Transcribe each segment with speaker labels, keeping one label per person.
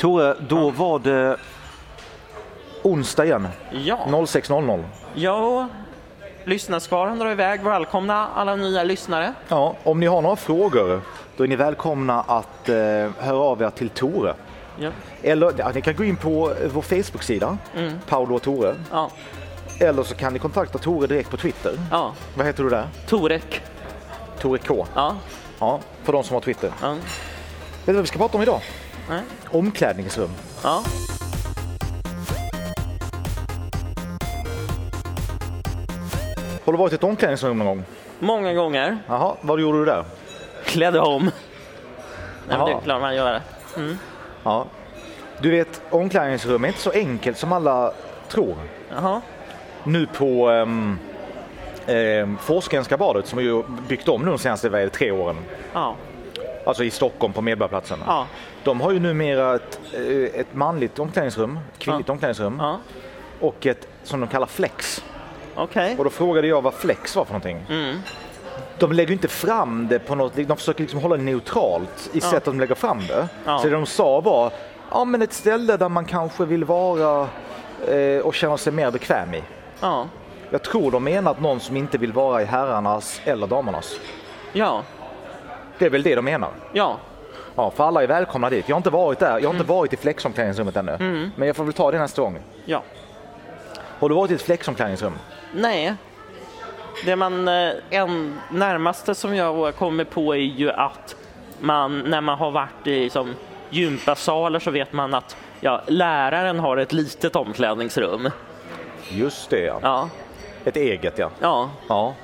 Speaker 1: Tore, då var det onsdag igen.
Speaker 2: Ja,
Speaker 1: 06.00.
Speaker 2: ja. lyssnarskaran drar iväg. Välkomna alla nya lyssnare.
Speaker 1: Ja, om ni har några frågor, då är ni välkomna att eh, höra av er till Tore.
Speaker 2: Ja.
Speaker 1: Eller ja, ni kan gå in på eh, vår Facebook-sida, Paolo och Tore.
Speaker 2: Ja.
Speaker 1: Eller så kan ni kontakta Tore direkt på Twitter.
Speaker 2: ja.
Speaker 1: Vad heter du där?
Speaker 2: Torek.
Speaker 1: Tore K.
Speaker 2: Ja.
Speaker 1: Ja, för de som har Twitter. Vet
Speaker 2: Ja.
Speaker 1: du vad vi ska prata om idag?
Speaker 2: Nej.
Speaker 1: Omklädningsrum.
Speaker 2: ja.
Speaker 1: Har du varit i ett omklädningsrum någon gång?
Speaker 2: Många gånger.
Speaker 1: Jaha, vad gjorde du där?
Speaker 2: Klädde om. Nej, men
Speaker 1: Jaha.
Speaker 2: det är klart man gör. det.
Speaker 1: Ja. Du vet, omklädningsrum är inte så enkelt som alla tror.
Speaker 2: Jaha.
Speaker 1: Nu på ehm, ehm, Forsgrenska badet som är ju byggt om nu de senaste vad är det, tre åren.
Speaker 2: Ja.
Speaker 1: Alltså i Stockholm på Medborgarplatsen.
Speaker 2: Ja.
Speaker 1: De har ju numera ett, eh, ett manligt omklädningsrum, ett kvinnligt omklädningsrum
Speaker 2: Ja.
Speaker 1: och ett som de kallar flex.
Speaker 2: Okej.
Speaker 1: Och då frågade jag vad flex var för någonting.
Speaker 2: Mm.
Speaker 1: De lägger ju inte fram det på något, de försöker liksom hålla det neutralt i sättet de lägger fram det.
Speaker 2: Ja.
Speaker 1: Så det de sa var, ja men ett ställe där man kanske vill vara eh, och känna sig mer bekväm i.
Speaker 2: Ja.
Speaker 1: Jag tror de menar att någon som inte vill vara i herrarnas eller damernas.
Speaker 2: Ja.
Speaker 1: Det är väl det de menar.
Speaker 2: Ja.
Speaker 1: Ja, för alla är välkomna dit. Jag har inte varit där, jag har
Speaker 2: Mm.
Speaker 1: inte varit i flexomklädningsrummet ännu. Men jag får väl ta det nästa gång.
Speaker 2: Ja.
Speaker 1: Har du varit i ett flexomklädningsrum?
Speaker 2: Nej. Det man eh, en närmaste som jag kommer på är ju att man när man har varit i som gympasaler så vet man att ja, läraren har ett litet omklädningsrum.
Speaker 1: Just det ja.
Speaker 2: Ja,
Speaker 1: Ett eget ja.
Speaker 2: ja,
Speaker 1: Ja.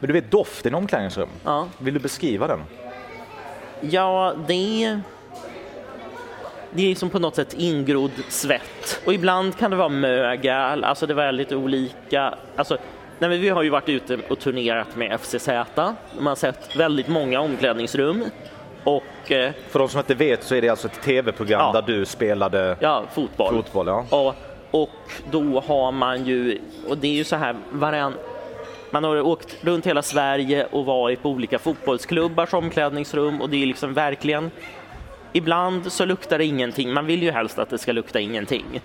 Speaker 1: Men du vet doften i omklädningsrum?
Speaker 2: ja.
Speaker 1: Vill du beskriva den?
Speaker 2: Ja, det är, det är som på något sätt ingrodd svett. Och ibland kan det vara mögel, alltså det var lite olika. Alltså, nej, men vi har ju varit ute och turnerat med FCZ. Man har sett väldigt många omklädningsrum. Och eh,
Speaker 1: För de som inte vet så är det alltså ett tv-program
Speaker 2: Ja.
Speaker 1: där du spelade
Speaker 2: ja, fotboll.
Speaker 1: fotboll. Ja.
Speaker 2: Ja, och då har man ju, och det är ju så här, varann, man har åkt runt hela Sverige och varit på olika fotbollsklubbars omklädningsrum och det är liksom verkligen Ibland så luktar det ingenting, man vill ju helst att det ska lukta ingenting.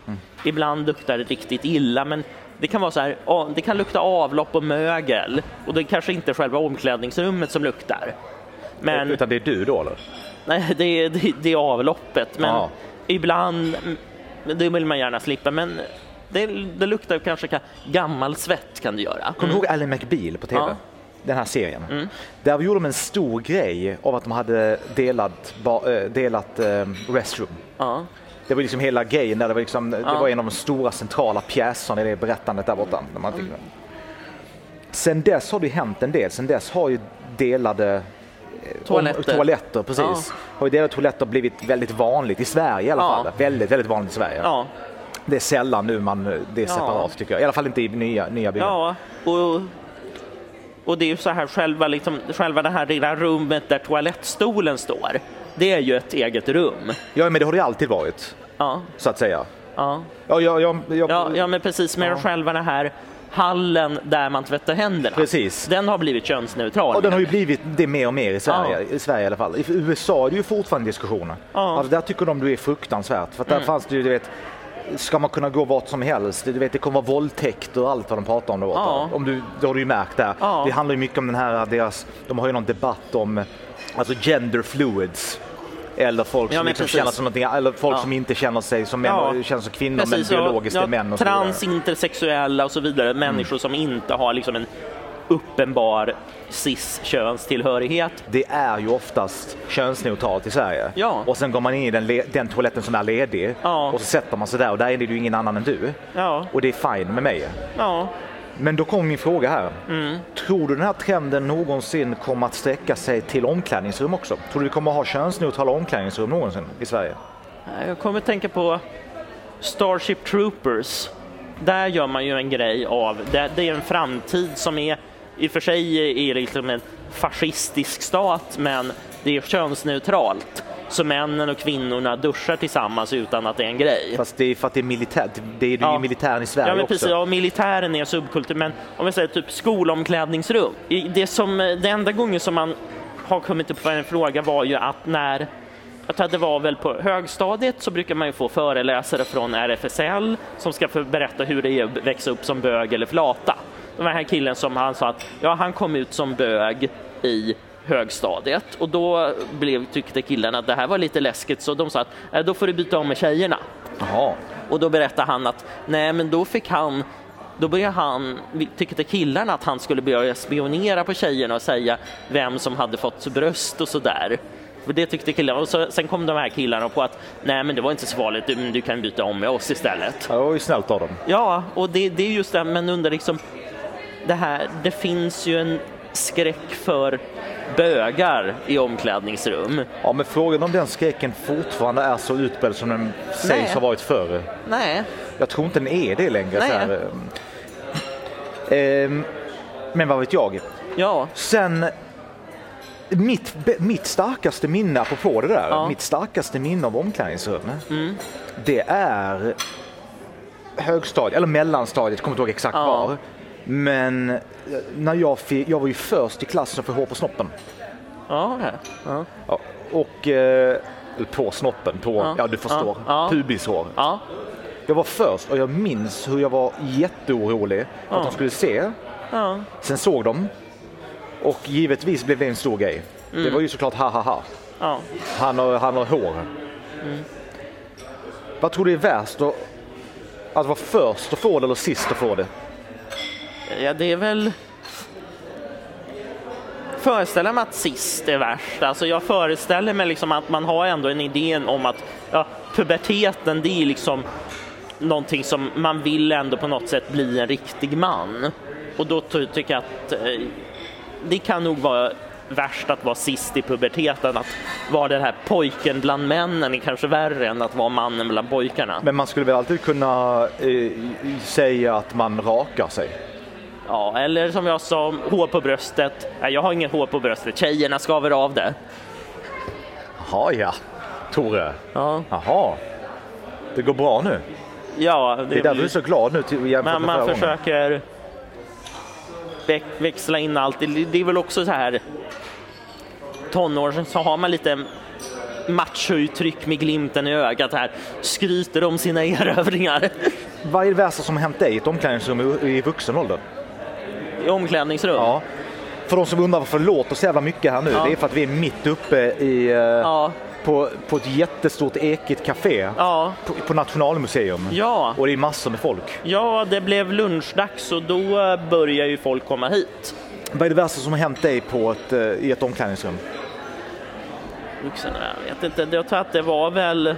Speaker 2: Ibland luktar det riktigt illa, men det kan vara så här, ja, det kan lukta avlopp och mögel och det är kanske inte själva omklädningsrummet som luktar. Men,
Speaker 1: Utan det är du då eller?
Speaker 2: Nej, det är, det, det är avloppet. Men
Speaker 1: Ja.
Speaker 2: ibland, men det vill man gärna slippa. Men det, det luktar kanske ka- gammal svett kan det göra.
Speaker 1: Kommer du ihåg Ally McBeal på tv?
Speaker 2: Mm. Ja. Mm.
Speaker 1: Den här serien. Där gjorde de en stor grej av att de hade delat, ba, eh, delat eh, restroom.
Speaker 2: Ja,
Speaker 1: Det var liksom hela grejen där, det var, liksom, det var en av de stora centrala pjäserna i det berättandet där borta. när Man
Speaker 2: Mm.
Speaker 1: fick den. Sen dess har det ju hänt en del, sen dess har ju delade eh,
Speaker 2: Toaletter.
Speaker 1: Om, toaletter precis. Har ju delade toaletter blivit väldigt vanligt i Sverige i alla
Speaker 2: Ja.
Speaker 1: fall. Väldigt, väldigt vanligt i Sverige.
Speaker 2: ja,
Speaker 1: Det är sällan nu man, eh, det är separat tycker jag. I alla fall inte i nya, nya byggnader.
Speaker 2: ja. Och, och det är ju så här själva, liksom, själva det här lilla rummet där toalettstolen står. Det är ju ett eget rum.
Speaker 1: Ja, men det har det alltid varit,
Speaker 2: Ja,
Speaker 1: så att säga.
Speaker 2: ja.
Speaker 1: Ja, ja, ja, ja,
Speaker 2: Ja, ja men precis med själva den här hallen där man tvättar händerna.
Speaker 1: Precis.
Speaker 2: Den har blivit könsneutral.
Speaker 1: Och den har ju blivit det mer och mer i Sverige,
Speaker 2: Ja.
Speaker 1: i Sverige i alla fall. I USA är det ju fortfarande diskussioner.
Speaker 2: Ja. Mm.
Speaker 1: Alltså, där tycker de det är fruktansvärt. För att där fanns det ju, du vet, ska man kunna gå vart som helst? Du vet, det kommer vara våldtäkt och allt vad de pratar om där borta.
Speaker 2: Ja.
Speaker 1: Om du, det har du ju märkt där.
Speaker 2: Ja.
Speaker 1: Det handlar ju mycket om den här, deras, de har ju någon debatt om alltså gender fluids. Eller folk
Speaker 2: Ja,
Speaker 1: som
Speaker 2: men
Speaker 1: liksom
Speaker 2: precis.
Speaker 1: känner sig någonting, eller folk
Speaker 2: Ja.
Speaker 1: som inte känner sig som män,
Speaker 2: Ja.
Speaker 1: och känner sig som kvinnor men
Speaker 2: ja,
Speaker 1: biologiskt är män och så vidare. Mm.
Speaker 2: Trans, intersexuella och så vidare. Människor som inte har liksom en uppenbar cis-könstillhörighet.
Speaker 1: det är ju oftast könsneutralt i Sverige.
Speaker 2: Ja.
Speaker 1: Och sen går man in i den, le- den toaletten som är ledig
Speaker 2: Ja.
Speaker 1: och så sätter man sig där och där är det ju ingen annan än du.
Speaker 2: Ja,
Speaker 1: Och det är fine med mig.
Speaker 2: ja.
Speaker 1: Men då kommer min fråga här.
Speaker 2: Mm.
Speaker 1: Tror du den här trenden någonsin kommer att sträcka sig till omklädningsrum också? Tror du vi kommer att ha könsneutrala omklädningsrum någonsin i Sverige?
Speaker 2: Jag kommer att tänka på Starship Troopers. Där gör man ju en grej av, det, det är en framtid som är, i och för sig är det liksom en fascistisk stat, men det är könsneutralt. Så männen och kvinnorna duschar tillsammans utan att det är en grej.
Speaker 1: Fast det är för att det är militärt. Det är ju
Speaker 2: Ja.
Speaker 1: militären i Sverige
Speaker 2: Ja, men
Speaker 1: också.
Speaker 2: precis. Ja, militären är subkultur, men om vi säger typ skolomklädningsrum. eh, I- Det, som, det enda gången som man har kommit upp på en fråga var ju att när jag tror att det var väl på högstadiet så brukar man ju få föreläsare från RFSL som ska för- berätta hur det är att växa upp som bög eller flata. Den här killen som han sa att ja, han kom ut som bög i högstadiet och då blev, tyckte killen att det här var lite läskigt så de sa att "Eh, då får du byta om med tjejerna.
Speaker 1: Jaha.
Speaker 2: Och då berättade han att nej men då fick han då började han, tyckte killarna att han skulle börja spionera på tjejerna och säga vem som hade fått bröst och sådär. För det tyckte killarna. Och så, sen kom de här killarna på att nej men det var inte så farligt, Mm, du, men du kan byta om med oss istället.
Speaker 1: Ja, Det var ju snällt av dem.
Speaker 2: Ja, och det, det är just det, men under liksom det här, det finns ju en skräck för bögar i omklädningsrum.
Speaker 1: Ja, men frågan om den skräcken fortfarande är så utbredd som den sägs
Speaker 2: Nej.
Speaker 1: ha varit förr.
Speaker 2: Nej,
Speaker 1: Jag tror inte den är det längre.
Speaker 2: Nej.
Speaker 1: Så här. Ehm, men vad vet jag?
Speaker 2: ja,
Speaker 1: Sen, mitt, be- mitt starkaste minne, apropå det där,
Speaker 2: Ja. Mm.
Speaker 1: mitt starkaste minne av omklädningsrum, det är högstadiet, eller mellanstadiet, kommer inte ihåg exakt
Speaker 2: Ja.
Speaker 1: var. Men eh, när jag, fick, jag var ju först i klassen för hår på snoppen.
Speaker 2: ja, ja,
Speaker 1: Ja, och, eh, eller på snoppen, på, ja,
Speaker 2: Ja.
Speaker 1: du förstår,
Speaker 2: Ja. Ja.
Speaker 1: pubishår.
Speaker 2: ja,
Speaker 1: Jag var först och jag minns hur jag var jätteorolig för att
Speaker 2: Ja.
Speaker 1: de skulle se.
Speaker 2: ja.
Speaker 1: Sen såg de och givetvis blev det en stor grej.
Speaker 2: Mm.
Speaker 1: Det var ju såklart ha ha ha.
Speaker 2: ja.
Speaker 1: Han har, han har hår.
Speaker 2: Mm.
Speaker 1: Vad tror du är värst? Att, att vara först och få det eller sist och få det?
Speaker 2: Ja, det är väl... Föreställer mig att sist är värst. Alltså jag föreställer mig liksom att man har ändå en idé om att ja, puberteten det är liksom någonting som man vill ändå på något sätt bli en riktig man. Och då ty- tycker jag att eh, det kan nog vara värst att vara sist i puberteten. Att vara den här pojken bland männen är kanske värre än att vara mannen bland pojkarna.
Speaker 1: Men man skulle väl alltid kunna eh, säga att man rakar sig?
Speaker 2: Ja, eller som jag sa, hår på bröstet. Nej, jag har inget hår på bröstet. Tjejerna skaver av det.
Speaker 1: Jaha ja, Tore.
Speaker 2: Ja,
Speaker 1: Jaha. Det går bra nu.
Speaker 2: ja
Speaker 1: Det är därför du är så glad nu till, jämfört med
Speaker 2: Men man
Speaker 1: förra gången.
Speaker 2: försöker väx- växla in allt. Det det är väl också så här tonåren så har man lite machouttryck med glimten i ögat här. Skryter om sina erövringar
Speaker 1: Vad är det värsta som har hänt dig i ett omklädningsrum i, i vuxen ålder?
Speaker 2: i omklädningsrum.
Speaker 1: Ja. För de som undrar varför det låter så jävla mycket här nu,
Speaker 2: Ja.
Speaker 1: det är för att vi är mitt uppe i, eh,
Speaker 2: Ja.
Speaker 1: på, på ett jättestort ekigt café
Speaker 2: Ja.
Speaker 1: på, på Nationalmuseum.
Speaker 2: Ja.
Speaker 1: Och det är massor med folk.
Speaker 2: ja, det blev lunchdags och då börjar ju folk komma hit.
Speaker 1: Vad är det värsta som har hänt dig på ett, eh, i ett omklädningsrum?
Speaker 2: vuxen. Jag vet inte, jag tror att det var väl...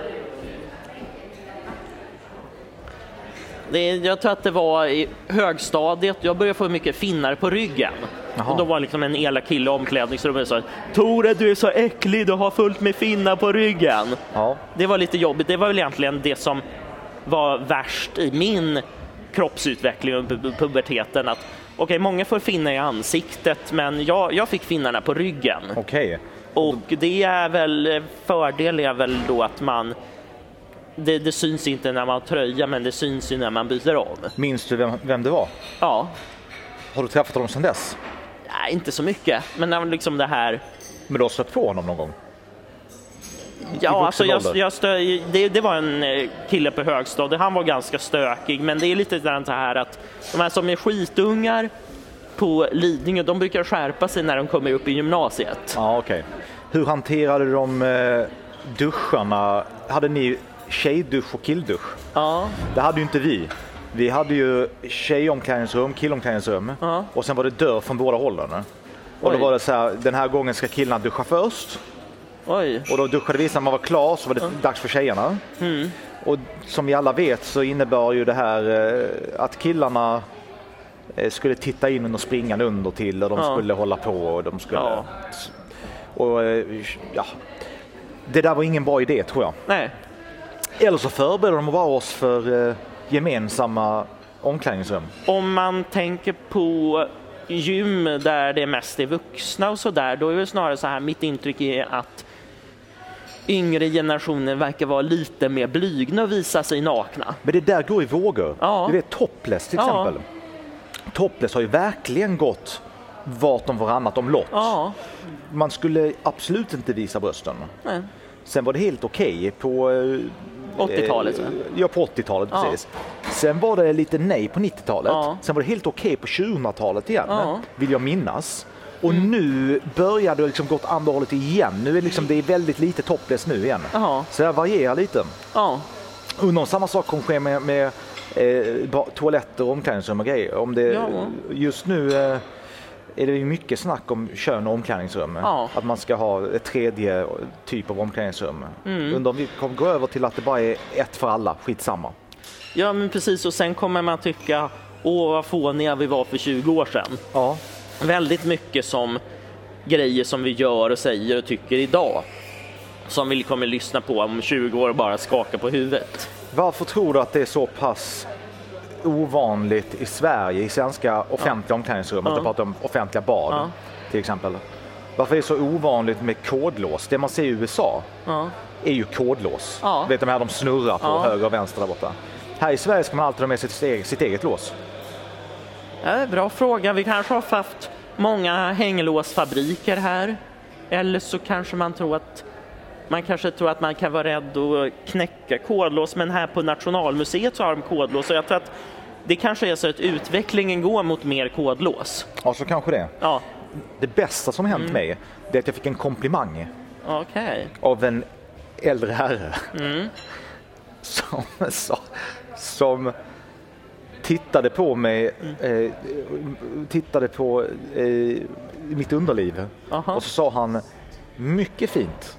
Speaker 2: Det, jag tror att det var i högstadiet, jag började få mycket finnar på ryggen.
Speaker 1: Jaha.
Speaker 2: Och då var liksom en elak kille i omklädningsrummet och sa Tore du är så äcklig, du har fullt med finnar på ryggen.
Speaker 1: Ja.
Speaker 2: Det var lite jobbigt, det var väl egentligen det som var värst i min kroppsutveckling och pu- puberteten. Att, okej, många får finnar i ansiktet men jag, jag fick finnarna på ryggen.
Speaker 1: Okej.
Speaker 2: Och det är väl, fördel är väl då att man, det, det syns inte när man har tröja men det syns ju när man byter om.
Speaker 1: Minns du vem, vem det var?
Speaker 2: Ja,
Speaker 1: Har du träffat honom sedan dess?
Speaker 2: nej, inte så mycket, men när man liksom det här,
Speaker 1: Men du har stött på honom någon gång? vuxen
Speaker 2: ja alltså jag,
Speaker 1: ålder?
Speaker 2: jag stö, det, det var en eh, kille på högstadiet, han var ganska stökig men det är lite grann så här att de här som är skitungar på Lidingö, de brukar skärpa sig när de kommer upp i gymnasiet.
Speaker 1: Ja, okej. Hur hanterade de eh, duscharna? Hade ni tjejdusch och killdusch?
Speaker 2: Ja,
Speaker 1: Det hade ju inte vi. Vi hade ju tjejomklädningsrum, killomklädningsrum
Speaker 2: Ja.
Speaker 1: och sen var det dörr från båda hållen. Och då
Speaker 2: Oj.
Speaker 1: var det så här, den här gången ska killarna duscha först.
Speaker 2: oj,
Speaker 1: Och då duschade vi, sen man var klar så var det dags för tjejerna.
Speaker 2: Mm.
Speaker 1: Och som vi alla vet så innebar ju det här eh, att killarna eh, skulle titta in och springa under till och de
Speaker 2: Ja.
Speaker 1: skulle hålla på och de skulle...
Speaker 2: Ja.
Speaker 1: Och, eh, ja. Det där var ingen bra idé tror jag.
Speaker 2: nej,
Speaker 1: Eller så förbereder de bara oss för eh, gemensamma omklädningsrum.
Speaker 2: Om man tänker på gym där det mest är vuxna och sådär, då är det snarare så här, mitt intryck är att yngre generationer verkar vara lite mer blygna och visa sig nakna.
Speaker 1: Men det där går i vågor.
Speaker 2: Ja.
Speaker 1: Du vet topless till
Speaker 2: Ja.
Speaker 1: exempel. Topless har ju verkligen gått vartom varannat omlopp.
Speaker 2: Ja,
Speaker 1: Man skulle absolut inte visa brösten.
Speaker 2: nej.
Speaker 1: Sen var det helt okej på... eh,
Speaker 2: 80-talet,
Speaker 1: eh,
Speaker 2: va?
Speaker 1: Ja, på 80-talet
Speaker 2: Ja.
Speaker 1: precis. Sen var det lite nej på 90-talet.
Speaker 2: Ja.
Speaker 1: Sen var det helt okej på 2000-talet igen,
Speaker 2: Ja. Mm.
Speaker 1: vill jag minnas. Och nu börjar det liksom gått andra hållet igen. Nu är det, liksom, det är väldigt lite topless nu igen.
Speaker 2: Ja.
Speaker 1: Så det här varierar lite.
Speaker 2: Ja,
Speaker 1: Undrar om samma sak kommer ske med, med eh, ba- toaletter och omklädningsrum och grejer. Om det,
Speaker 2: Ja.
Speaker 1: Just nu eh, är det ju mycket snack om kön och omklädningsrum.
Speaker 2: Ja.
Speaker 1: Att man ska ha ett tredje typ av omklädningsrum.
Speaker 2: Mm.
Speaker 1: Undrar om vi kommer gå över till att det bara är ett för alla, skitsamma.
Speaker 2: ja men precis. Och sen kommer man tycka, åh vad fåniga vi var för 20 år sedan.
Speaker 1: Ja,
Speaker 2: väldigt mycket som grejer som vi gör och säger och tycker idag som vi kommer lyssna på om 20 år och bara skaka på huvudet.
Speaker 1: Varför tror du att det är så pass ovanligt i Sverige, i svenska offentliga omklädningsrum, att
Speaker 2: Ja.
Speaker 1: jag pratar om offentliga bad
Speaker 2: Ja.
Speaker 1: till exempel. Varför är det så ovanligt med kodlås? Det man ser i USA
Speaker 2: Ja.
Speaker 1: är ju kodlås.
Speaker 2: Ja.
Speaker 1: Vet du de här de snurrar på
Speaker 2: Ja.
Speaker 1: höger och vänster där borta. Här i Sverige ska man alltid ha med sitt eget, sitt eget lås.
Speaker 2: Eh, Bra fråga. Vi kanske har haft många hänglåsfabriker här. Eller så kanske man tror att man kanske tror att man kan vara rädd att knäcka kodlås, men här på Nationalmuseet så har de kodlås. Så jag tror att det kanske är så att utvecklingen går mot mer kodlås.
Speaker 1: Ja, så kanske det.
Speaker 2: Ja,
Speaker 1: Det bästa som
Speaker 2: Mm.
Speaker 1: hänt mig, det är att jag fick en komplimang
Speaker 2: okej.
Speaker 1: av en äldre herre.
Speaker 2: Mm.
Speaker 1: Som, som, som tittade på mig,
Speaker 2: Mm.
Speaker 1: eh, tittade på eh, mitt underliv
Speaker 2: Aha.
Speaker 1: och så sa han mycket fint.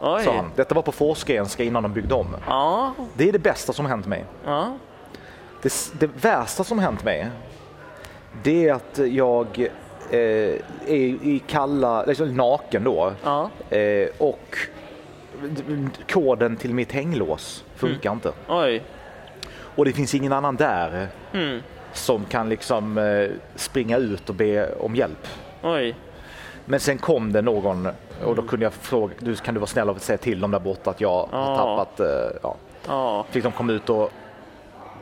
Speaker 2: Oj.
Speaker 1: Sa han. Detta var på Forsgrenska innan de byggde om.
Speaker 2: Ja,
Speaker 1: Det är det bästa som hänt mig.
Speaker 2: ja.
Speaker 1: Det, det värsta som hänt mig, det är att jag eh, är i kalla, liksom naken då.
Speaker 2: Ja.
Speaker 1: Eh, och koden till mitt hänglås
Speaker 2: Mm.
Speaker 1: funkar inte.
Speaker 2: Oj.
Speaker 1: Och det finns ingen annan där
Speaker 2: Mm.
Speaker 1: som kan liksom eh, springa ut och be om hjälp.
Speaker 2: Oj.
Speaker 1: Men sen kom det någon och
Speaker 2: Mm.
Speaker 1: då kunde jag fråga, du, kan du vara snäll och säga till dem där borta att jag har
Speaker 2: Ja.
Speaker 1: tappat, eh, ja.
Speaker 2: Ja.
Speaker 1: Fick de komma ut och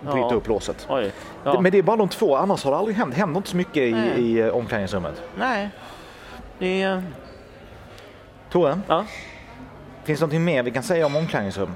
Speaker 1: bryta
Speaker 2: Ja.
Speaker 1: upp låset.
Speaker 2: Oj. Ja.
Speaker 1: Men det är bara de två, annars har det aldrig hänt. Det händer inte så mycket i,
Speaker 2: Nej.
Speaker 1: i eh, omklädningsrummet.
Speaker 2: Nej. Det är...
Speaker 1: Tore,
Speaker 2: Ja.
Speaker 1: finns det någonting mer vi kan säga om omklädningsrum?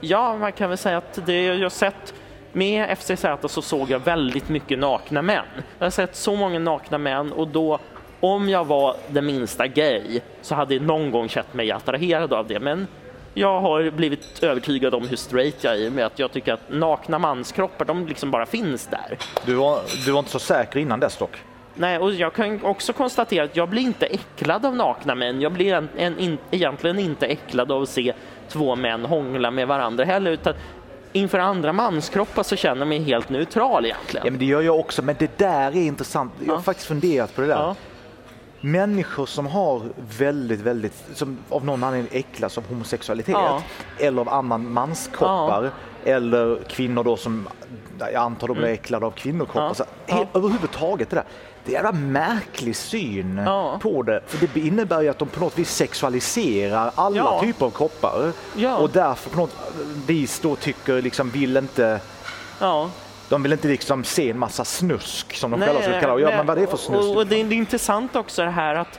Speaker 2: ja, man kan väl säga att det jag har sett med FCZ så såg jag väldigt mycket nakna män. Jag har sett så många nakna män och då om jag var den minsta gay så hade jag någon gång känt mig attraherad av det. Men jag har blivit övertygad om hur straight jag är i och med att jag tycker att nakna manskroppar, de liksom bara finns där.
Speaker 1: Du var, du var inte så säker innan dess dock.
Speaker 2: Nej, och jag kan också konstatera att jag blir inte äcklad av nakna män. Jag blir en, en, in, egentligen inte äcklad av att se två män hångla med varandra heller, utan inför andra manskroppar så känner jag mig helt neutral egentligen.
Speaker 1: Ja, men det gör jag också, men det där är intressant. Jag har
Speaker 2: Ja.
Speaker 1: faktiskt funderat på det där.
Speaker 2: Ja.
Speaker 1: Människor som har väldigt, väldigt, som av någon anledning äcklas av homosexualitet
Speaker 2: Ja.
Speaker 1: eller av annan manskroppar eller kvinnor då som jag antar då blir äcklade av kvinnokroppar.
Speaker 2: Mm. Ja.
Speaker 1: Så, helt, Överhuvudtaget det där. Det är en jävla märklig syn
Speaker 2: Ja.
Speaker 1: på det. För det innebär ju att de på något vis sexualiserar alla
Speaker 2: Ja.
Speaker 1: typer av kroppar
Speaker 2: Ja.
Speaker 1: och därför på något vis då tycker liksom vill inte
Speaker 2: Ja.
Speaker 1: de vill inte liksom se en massa snusk som de
Speaker 2: Nej,
Speaker 1: själva skulle kalla det. Ja,
Speaker 2: nej,
Speaker 1: men vad är det för
Speaker 2: Och, och
Speaker 1: snusk?
Speaker 2: det, är, det är intressant också det här att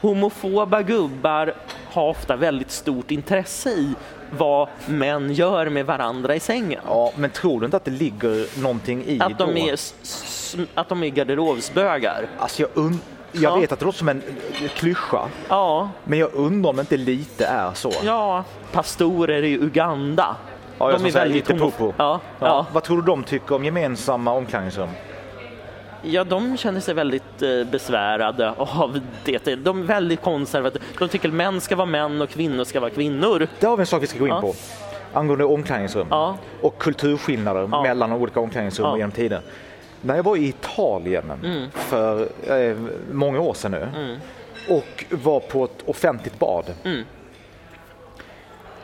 Speaker 2: homofoba gubbar har ofta väldigt stort intresse i vad män gör med varandra i sängen.
Speaker 1: Ja, men tror du inte att det ligger någonting i
Speaker 2: Att de,
Speaker 1: då?
Speaker 2: är, s- s- att de är garderobsbögar.
Speaker 1: Alltså jag und... Jag
Speaker 2: Ja.
Speaker 1: vet att det låter som en eh, klyscha,
Speaker 2: Ja,
Speaker 1: men jag undrar om det inte lite är så.
Speaker 2: Ja, pastorer i Uganda.
Speaker 1: Ja, jag ska säga lite
Speaker 2: homo-
Speaker 1: popo.
Speaker 2: Ja, ja.
Speaker 1: Ja, Vad tror du de tycker om gemensamma omklädningsrum?
Speaker 2: ja, de känner sig väldigt eh, besvärade av det. De är väldigt konservativa. De tycker att män ska vara män och kvinnor ska vara kvinnor.
Speaker 1: Där har vi en sak vi ska gå in
Speaker 2: Ja.
Speaker 1: på. Angående omklädningsrum
Speaker 2: Ja.
Speaker 1: och kulturskillnader
Speaker 2: Ja.
Speaker 1: mellan olika omklädningsrum
Speaker 2: Ja. Mm.
Speaker 1: genom tiden. När jag var i Italien för eh, många år sedan nu och var på ett offentligt bad.
Speaker 2: Mm.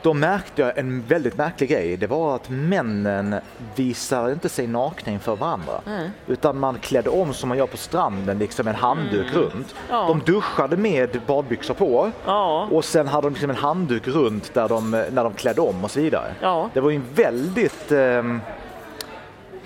Speaker 1: Då märkte jag en väldigt märklig grej. Det var att männen visade inte sig nakna inför varandra. Utan man klädde om som man gör på stranden, liksom en handduk runt.
Speaker 2: Mm. Ja.
Speaker 1: De duschade med badbyxor på.
Speaker 2: Ja.
Speaker 1: Och sen hade de liksom en handduk runt där de, när de klädde om och så vidare.
Speaker 2: Ja.
Speaker 1: Det var ju en väldigt... ehm,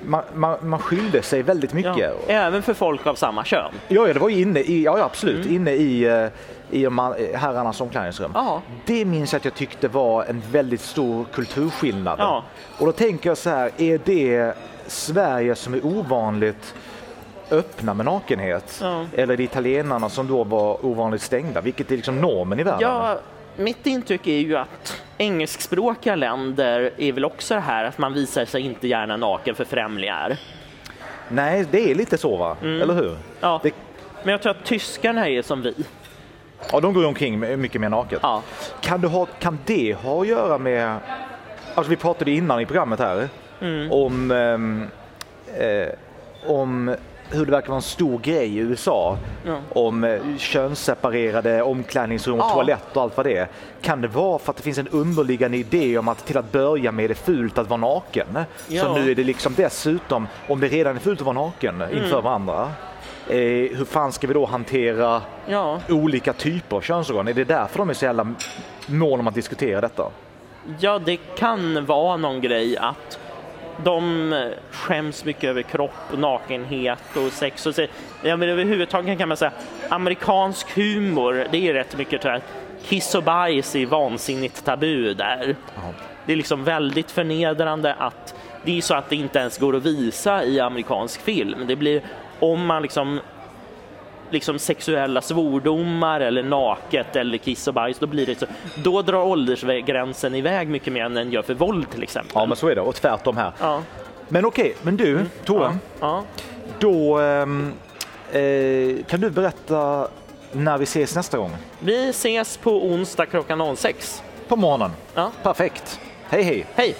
Speaker 1: man, man, man skilde sig väldigt mycket.
Speaker 2: Ja. Även för folk av samma kön.
Speaker 1: Ja, ja, det var ju inne i, ja, ja absolut,
Speaker 2: Mm.
Speaker 1: inne i, eh, i de här- herrarnas omklädningsrum.
Speaker 2: Ja.
Speaker 1: Det minns jag att jag tyckte var en väldigt stor kulturskillnad.
Speaker 2: Ja.
Speaker 1: Och då tänker jag så här, är det Sverige som är ovanligt öppna med nakenhet?
Speaker 2: Ja.
Speaker 1: Eller är det italienarna som då var ovanligt stängda? Vilket är liksom normen i världen?
Speaker 2: Ja, mitt intryck är ju att engelskspråkiga länder är väl också det här att man visar sig inte gärna naken för främlingar.
Speaker 1: Nej, det är lite så va? Eller hur?
Speaker 2: Mm. Ja.
Speaker 1: Det,
Speaker 2: Men jag tror att tyskarna är som vi.
Speaker 1: ja, de går ju omkring med- mycket mer naket.
Speaker 2: Ja.
Speaker 1: Kan, du ha, kan det ha att göra med... Alltså vi pratade innan i programmet här
Speaker 2: Mm.
Speaker 1: om, ehm, eh, om hur det verkar vara en stor grej i USA.
Speaker 2: Ja.
Speaker 1: Om eh, könsseparerade omklädningsrum och
Speaker 2: Ja.
Speaker 1: toalett och allt vad det är. Kan det vara för att det finns en underliggande idé om att till att börja med är det fult att vara naken?
Speaker 2: Ja.
Speaker 1: Så nu är det liksom dessutom, om det redan är fult att vara naken
Speaker 2: Mm.
Speaker 1: inför varandra, eh, hur fan ska vi då hantera
Speaker 2: Ja,
Speaker 1: olika typer av könsorgan? Är det därför de är så jävla mån om att diskutera detta?
Speaker 2: ja, det kan vara någon grej att de skäms mycket över kropp, och nakenhet och sex. Och se. ja, men överhuvudtaget kan man säga amerikansk humor, det är rätt mycket så här. Kiss och bajs är vansinnigt tabu där. Det är liksom väldigt förnedrande att det är så att det inte ens går att visa i amerikansk film. Det blir om man liksom liksom sexuella svordomar eller naket eller kiss och bajs, då blir det så. Då drar åldersgränsen iväg mycket mer än den gör för våld till exempel.
Speaker 1: Ja, men så är det. Och tvärtom här.
Speaker 2: ja.
Speaker 1: Men okej, men du, Tore,
Speaker 2: ja. Mm. ja.
Speaker 1: då ehm, eh, kan du berätta när vi ses nästa gång?
Speaker 2: Vi ses på onsdag klockan 06.
Speaker 1: På morgonen.
Speaker 2: Ja.
Speaker 1: Perfekt. Hej, hej.
Speaker 2: Hej!